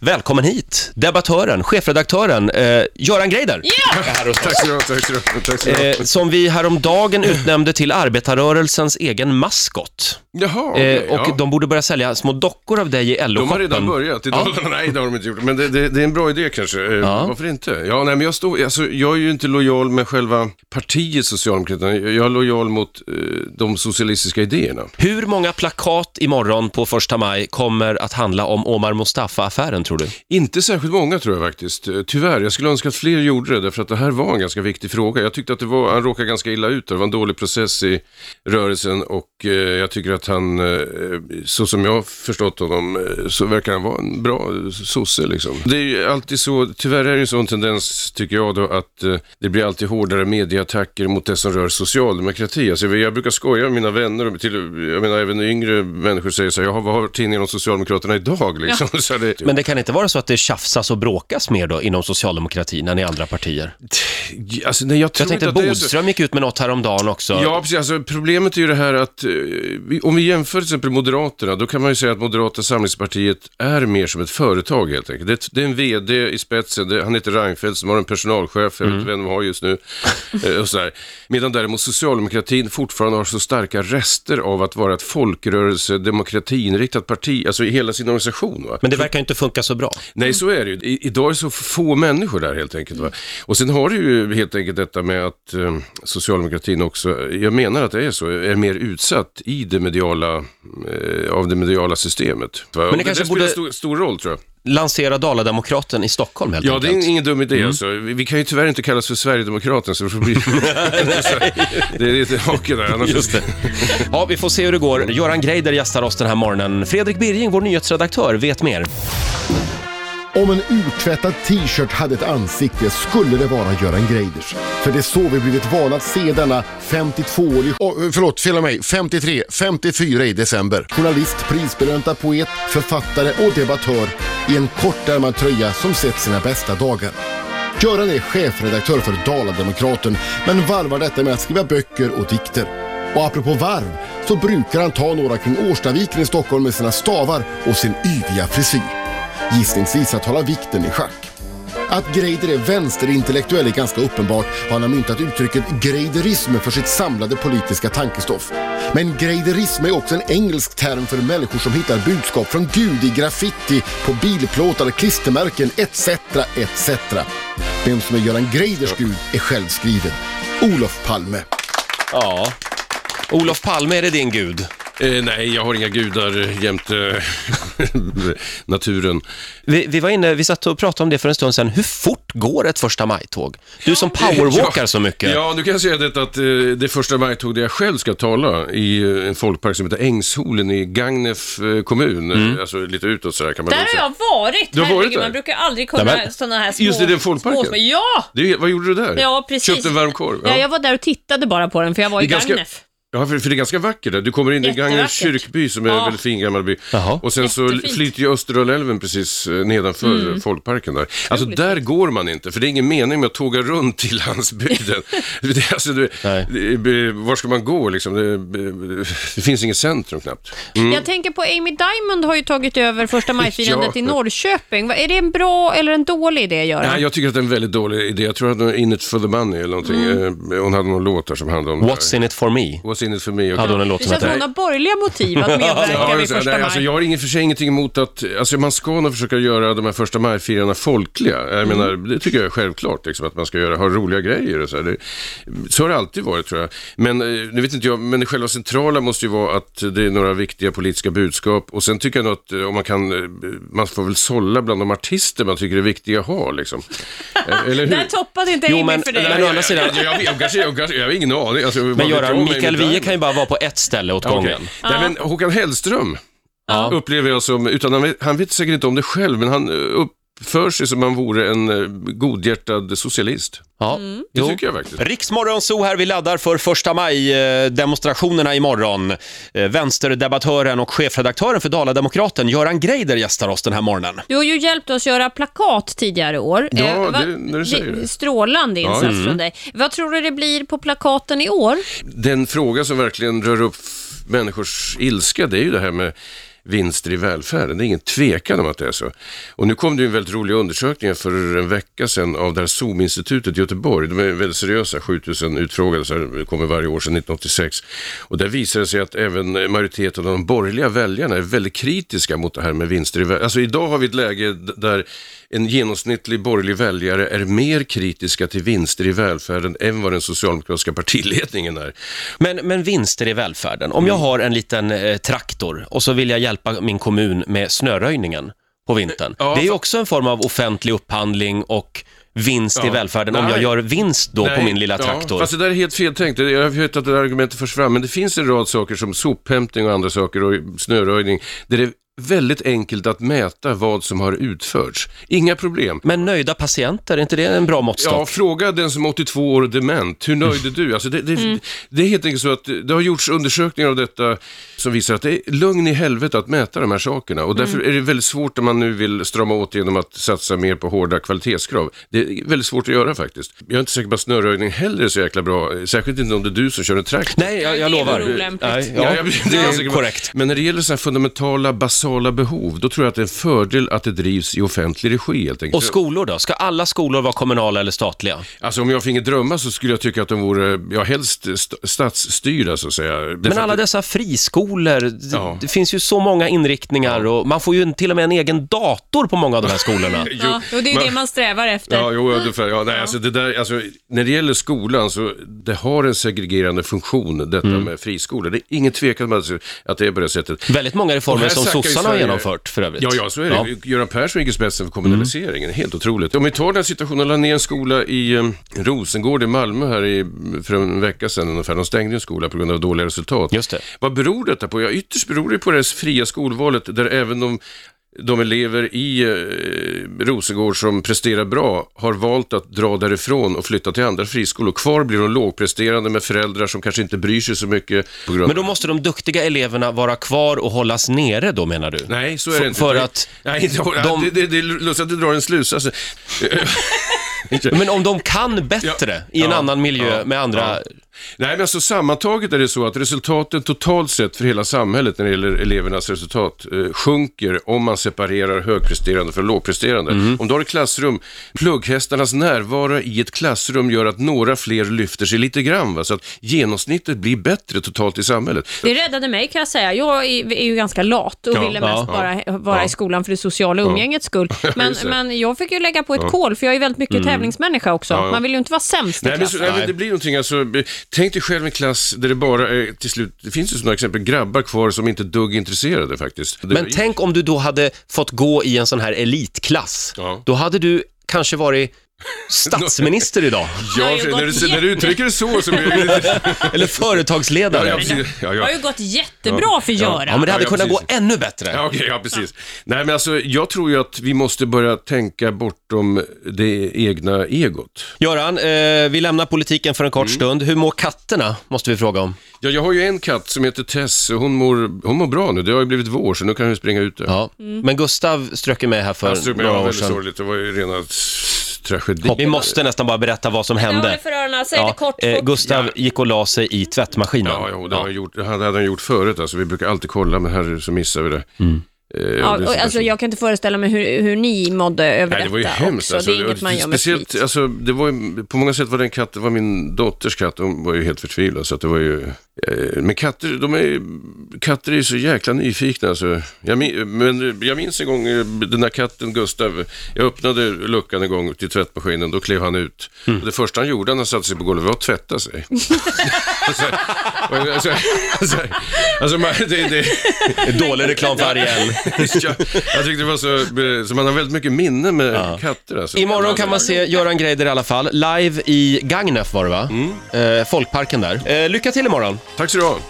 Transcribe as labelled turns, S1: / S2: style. S1: Välkommen hit, debattören, chefredaktören eh, Göran Greider. Är här hos oss.
S2: Tack så du tack så du tack så du
S1: Eh, som vi häromdagen utnämnde till arbetarrörelsens egen maskot.
S2: Jaha,
S1: Eh,
S2: okej,
S1: och
S2: ja.
S1: de borde börja sälja små dockor av dig i
S2: de har redan
S1: LO-shoppen.
S2: börjat. I Dalarna, Nej, det har de inte gjort. Men det, det, det är en bra idé kanske. Eh, Varför inte? Ja, nej, men jag, står, alltså, jag är ju inte lojal med själva partiet Socialdemokraterna. Jag jag är lojal mot eh, de socialistiska idéerna.
S1: Hur många plakat imorgon på första maj kommer att handla om Omar Mustafa-affären, tror du?
S2: Inte särskilt många tror jag faktiskt. Eh, Tyvärr, jag skulle önska att fler gjorde det, därför att det här var en ganska viktig fråga. Jag tyckte att det var, han råkade ganska illa ut, där. det var en dålig process i rörelsen och eh, jag tycker att han, eh, så som jag har förstått honom, eh, så verkar han vara en bra eh, sosse liksom. Det är ju alltid så, tyvärr är det en sån tendens, tycker jag då, att eh, det blir alltid hårdare medieattacker mot det som rör socialdemokrati. Alltså, jag brukar skoja med mina vänner, och till, jag menar även yngre människor säger så här, "Jaha, vad har tidningen om Socialdemokraterna idag liksom? Så det,
S1: Men det kan inte vara så att det tjafsas och bråkas mer då inom socialdemokratin än i andra partier?
S2: Alltså, nej, jag tror
S1: Jag tänkte
S2: inte att det är så.
S1: Bodström gick ut med något häromdagen också.
S2: Ja, precis. Alltså, problemet är ju det här att eh, vi- om vi jämför till exempel Moderaterna, då kan man ju säga att Moderata samlingspartiet är mer som ett företag helt enkelt. Det, är ett- det är en VD i spetsen, det, han heter Reinfeldt som har en personalchef, jag vet
S1: Mm.
S2: inte vem de har just nu. eh, och sådär. Medan däremot socialdemokratin fortfarande har så starka rester av att vara ett folkrörelse, demokratiinriktat parti, alltså i hela sin organisation. Va?
S1: Men det verkar ju inte funka så bra.
S2: Nej, så är det ju. I, idag är det så få människor där helt enkelt. Va? Och sen har du ju helt enkelt detta med att eh, socialdemokratin också, jag menar att det är så, är mer utsatt i det mediala, eh, av det mediala systemet. Va? Men
S1: det kanske
S2: det, kanske det spelar
S1: borde-
S2: stor, stor roll tror jag.
S1: Lansera Dalademokraten i Stockholm helt
S2: Ja, det
S1: enkelt.
S2: är ingen dum idé alltså. Vi, vi kan ju tyvärr inte kallas för Sverigedemokraterna, så det blir det är lite hake där. Annars
S1: Just det. Ja, vi får se hur det går. Göran Greider gästar oss den här morgonen. Fredrik Birging, vår nyhetsredaktör, vet mer.
S3: Om en urtvättad t-shirt hade ett ansikte skulle det vara Göran Greiders. För det är så vi blivit vana att se denna 52-årig... Oh, förlåt, fel av mig. 53, 54 i december. Journalist, prisbelönta poet, författare och debattör i en kortärmad tröja som sett sina bästa dagar. Göran är chefredaktör för Dalademokraten men varvar detta med att skriva böcker och dikter. Och apropå varv så brukar han ta några kring Årstaviken i Stockholm med sina stavar och sin yviga frisyr. Gissningsvis att hålla vikten i schack. Att Greider är vänsterintellektuell är ganska uppenbart och han har myntat uttrycket greiderism för sitt samlade politiska tankestoff. Men greiderism är också en engelsk term för människor som hittar budskap från Gud i graffiti, på bilplåtar, klistermärken etc. etc. Vem som är Göran Greiders Gud är självskriven. Olof Palme.
S1: Ja. Olof Palme, är det din gud?
S2: Eh, nej, jag har inga gudar eh, jämte naturen.
S1: Vi, vi var inne, vi satt och pratade om det för en stund sedan. Hur fort går ett första maj-tåg? Du som powerwalkar
S2: Ja.
S1: så mycket.
S2: Ja, nu kan jag säga det att eh, det första maj-tåg där jag själv ska tala i eh, en folkpark som heter Ängsholen i Gagnef eh, kommun,
S1: Mm.
S2: eh, alltså lite utåt sådär kan man
S4: Där
S2: väl säga.
S4: har jag varit!
S2: Alltså. Du har varit
S4: Herregud,
S2: där?
S4: man brukar aldrig kunna
S1: Nämen.
S4: sådana här små...
S2: Just i den folkparken?
S4: små- Ja!
S2: Det, är- vad gjorde du där?
S4: Ja, precis.
S2: Köpte en varm korv?
S4: Ja. jag var där och tittade bara på den, för jag var
S2: Det
S4: i
S2: är ganska-
S4: Gagnef.
S2: Ja, för, för det är ganska vackert där. Du kommer in i Gagnefs
S4: Jättevackert.
S2: kyrkby som är en
S4: Ja.
S2: väldigt fin gammal by.
S1: Jaha.
S2: Och sen så
S4: Jättefint. Mm.
S2: flyter ju Österdalälven precis eh, nedanför folkparken där. Alltså
S4: Otroligt
S2: där går man inte, för det är ingen mening med att tåga runt till landsbygden. det, är alltså, du,
S1: Nej.
S2: det, var ska man gå liksom? Det, det finns inget centrum knappt.
S4: Jag tänker på Amy Diamond har ju tagit över första majfirandet
S2: Ja.
S4: i Norrköping. Va- Är det en bra eller en dålig idé, Göran?
S2: Nej, jag tycker att det är en väldigt dålig idé. Jag tror att hon In it for the money eller någonting.
S4: Mm.
S2: Eh, Hon hade någon låt där som handlade om
S1: What's in it for me?
S2: det här. What's in it for me?
S1: Hade hon en
S4: Det
S1: låt som
S4: känns som hon
S1: hette...
S4: har borgerliga motiv att medverka
S2: Ja,
S4: vid
S2: just det.
S4: första
S2: Nej,
S4: maj.
S2: alltså, jag har ingen för sig ingenting emot att, alltså man ska nog försöka göra de här första majfirarna folkliga. Jag menar, det tycker jag är självklart, liksom, att man ska göra, ha roliga grejer och så här. Det, så har det alltid varit tror jag. Men eh, nu vet inte jag, men det själva centrala måste ju vara att det är några viktiga politiska budskap och sen tycker jag nog att eh, om man kan, eh, man får väl sålla bland de artister man tycker är viktiga att ha liksom. Eh, Eller hur?
S4: Där toppade inte
S1: Jo,
S4: Amy
S1: men-
S4: för dig.
S1: men- å andra sidan-
S2: jag, jag, jag, jag, kanske- jag, kanske- jag har ingen aning. Alltså,
S1: Men Göran, Mikael Wiehe kan ju bara vara på ett ställe åt
S2: Ja, okej.
S1: gången.
S2: Nej, men Håkan Hellström
S1: Ja.
S2: upplever jag som, utan han, vet- han vet säkert inte om det själv, men han eh, uppför sig som om han vore en eh, godhjärtad socialist.
S1: Ja.
S4: Mm.
S2: Det
S1: Jo.
S2: tycker jag verkligen.
S1: Riksmorgon Zoo här, vi laddar för första maj-demonstrationerna imorgon. Eh, Vänsterdebattören och chefredaktören för Dalademokraten, Göran Greider, gästar oss den här morgonen.
S4: Du har ju hjälpt oss göra plakat tidigare år.
S2: Ja,
S4: Eh, va-
S2: det- när du säger det.
S4: Strålande insats
S2: Ja, mm.
S4: från dig. Vad tror du det blir på plakaten i år?
S2: Den fråga som verkligen rör upp människors ilska, det är ju det här med vinster i välfärden. Det är ingen tvekan om att det är så. Och nu kom det ju en väldigt rolig undersökning för en vecka sedan av det här SOM-institutet i Göteborg. De är väldigt seriösa, 7000 utfrågade, så här, det kommer varje år sedan 1986. Och där visar det sig att även majoriteten av de borgerliga väljarna är väldigt kritiska mot det här med vinster i välfärden. Alltså idag har vi ett läge d- där en genomsnittlig borgerlig väljare är mer kritiska till vinster i välfärden än vad den socialdemokratiska partiledningen är.
S1: Men, men vinster i välfärden. Om jag har en liten eh, traktor och så vill jag hjälpa min kommun med snöröjningen på vintern.
S2: Ja,
S1: det är ju
S2: fa-
S1: också en form av offentlig upphandling och vinst i
S2: Ja.
S1: välfärden om
S2: Nej.
S1: jag gör vinst då på
S2: Nej,
S1: min lilla
S2: ja,
S1: traktor.
S2: fast det där är helt fel tänkt. Jag vet att det där argumentet förs fram, men det finns en rad saker som sophämtning och andra saker och snöröjning, där det är väldigt enkelt att mäta vad som har utförts. Inga problem.
S1: Men nöjda patienter, är inte det en bra måttstock?
S2: Ja, fråga den som är 82 år och dement. Hur
S1: Mm.
S2: nöjd är du? Alltså det, det, det är helt enkelt så att det har gjorts undersökningar av detta som visar att det är lugn i helvete att mäta de här sakerna. Och därför
S1: Mm.
S2: är det väldigt svårt om man nu vill strama åt genom att satsa mer på hårda kvalitetskrav. Det är väldigt svårt att göra faktiskt. Jag är inte säker på att snöröjning heller är så jäkla bra, särskilt inte om det är du som kör en traktor.
S1: Nej, jag,
S4: Nej,
S1: jag
S4: det är
S1: lovar.
S4: väl olämpligt.
S1: Nej,
S2: Ja,
S1: ja,
S2: jag-
S1: det
S2: jag säker
S1: är
S2: på.
S1: korrekt.
S2: Men när det gäller så här fundamentala, basala behov, då tror jag att det är en fördel att det drivs i offentlig regi helt enkelt.
S1: Och skolor då? Ska alla skolor vara kommunala eller statliga?
S2: Alltså om jag finge drömma så skulle jag tycka att de vore, ja helst st- statsstyrda så att säga.
S1: Men alla dessa friskolor, det-
S2: Ja.
S1: det finns ju så många inriktningar och man får ju en- till och med en egen dator på många av de här skolorna.
S4: Ja, och det är ju det man strävar efter.
S2: Ja, jo, ungefär. Ja, nej, alltså det där, alltså, när det gäller skolan så det har en segregerande funktion detta
S1: Mm.
S2: med friskolor. Det är ingen tvekan om att- att det är på det sättet.
S1: Väldigt många
S2: Och
S1: reformer
S2: här
S1: som
S2: sackar ju
S1: sossarna har
S2: Sverige.
S1: genomfört för övrigt.
S2: Ja, ja, så är det. Göran Persson gick i spetsen för kommunaliseringen. Helt otroligt. Om vi tar den här situationen, la ner en skola i eh, Rosengård i Malmö här i, för en vecka sedan ungefär. De stängde en skola på grund av dåliga resultat.
S1: Just det.
S2: Vad beror detta på? Ja, ytterst beror det på det fria skolvalet där även de de elever i eh, Rosengård som presterar bra har valt att dra därifrån och flytta till andra friskolor. Kvar blir de lågpresterande med föräldrar som kanske inte bryr sig så mycket. På grund av-
S1: Men då måste de duktiga eleverna vara kvar och hållas nere då menar du?
S2: Nej, så är
S1: För-
S2: det inte.
S1: för
S2: Det-
S1: att
S2: Nej, det,
S1: de-
S2: det, det, det är lustigt att du drar en slutsats.
S1: Men om de kan bättre i en
S2: Ja,
S1: annan miljö
S2: ja,
S1: med andra...
S2: ja. Nej, men alltså sammantaget är det så att resultaten totalt sett för hela samhället när det gäller elevernas resultat eh, sjunker om man separerar högpresterande från lågpresterande.
S1: Mhm.
S2: Om du har ett klassrum, plugghästarnas närvaro i ett klassrum gör att några fler lyfter sig lite grann, va? så att genomsnittet blir bättre totalt i samhället.
S4: Det räddade mig kan jag säga. Jag är, är ju ganska lat och
S2: Ja,
S4: ville mest
S1: ja,
S4: bara vara i skolan för det sociala umgängets skull. Men,
S2: just det. Mm.
S4: men jag fick ju lägga på ett kol, för jag är väldigt mycket tävlingsmänniska också.
S2: ja.
S4: Man vill ju inte vara sämst i
S2: Nej men, så,
S4: klassen.
S2: nej, men det blir någonting. Alltså, be- tänk dig själv en klass där det bara är till slut, det finns ju sådana exempel, grabbar kvar som inte är dugg intresserade faktiskt. Det-
S1: Men tänk om du då hade fått gå i en sån här elitklass.
S2: Ja.
S1: Då hade du kanske varit statsminister idag.
S4: Jag
S2: Ja,
S4: har ju
S2: när,
S4: gått
S2: du, när du
S4: jätte-
S2: uttrycker det så så blir det...
S1: Eller företagsledare.
S2: Ja,
S1: Ja,
S2: precis. Ja,
S4: Det
S2: ja.
S4: har ju gått jättebra
S2: Ja.
S4: för
S2: Ja.
S4: Göran.
S1: men det hade
S2: Ja, ja,
S1: kunnat gå
S2: precis.
S1: ännu bättre.
S2: Ja, okej, ja, precis. Nej, men alltså, jag tror ju att vi måste börja tänka bortom det egna egot.
S1: Göran, eh, vi lämnar politiken för en
S2: Mm.
S1: kort stund. Hur mår katterna, måste vi fråga om.
S2: Ja, jag har ju en katt som heter Tess och hon mår, hon mår bra nu. Det har ju blivit vår så nu kan hon springa ute.
S1: Ja.
S4: Mm.
S1: Men Gustav strök ju med här för
S2: Jag strök mig
S1: några
S2: av
S1: år
S2: väldigt
S1: sedan.
S2: sorgligt. Det var ju rena s- tragedi.
S1: Vi måste nästan bara berätta vad som
S4: Jag håller
S1: hände.
S4: för öronen, säg det
S1: Ja,
S4: kort.
S1: eh,
S4: fort.
S1: Gustav gick och la sig i tvättmaskinen.
S2: Ja, jo, det, Har han gjort, det hade han gjort förut. Alltså, vi brukar alltid kolla, men här så missar vi det. Eh, och
S4: Ja,
S2: det är
S4: och,
S2: så-
S4: alltså, jag kan inte föreställa mig hur, hur ni mådde över
S2: Nej, det
S4: detta
S2: var ju hemskt.
S4: också.
S2: alltså.
S4: det är inget
S2: Och
S4: man gör med
S2: speciellt,
S4: flit.
S2: alltså, det var ju, På många sätt var den katten, var min dotters katt, hon var ju helt förtvivlad. Så att det var ju, eh, men katter, de är, ju- katter är ju så jäkla nyfikna. Alltså. Jag, min, men jag minns en gång eh, den där katten Gustav, jag öppnade luckan en gång till tvättmaskinen, då klev han ut.
S4: Mm.
S2: Och det första han gjorde när han satte sig på golvet var att tvätta sig. alltså, alltså, alltså, alltså, man- det, det,
S1: Dålig reklam för Ariel.
S2: jag, jag tyckte det var så, så man har väldigt mycket minne med katter alltså.
S1: Imorgon kan man se Göran Greider i alla fall,
S2: Mm.
S1: live i Gagnef var det va? Eh, folkparken där. Eh, lycka till imorgon!
S2: Tack så du ha.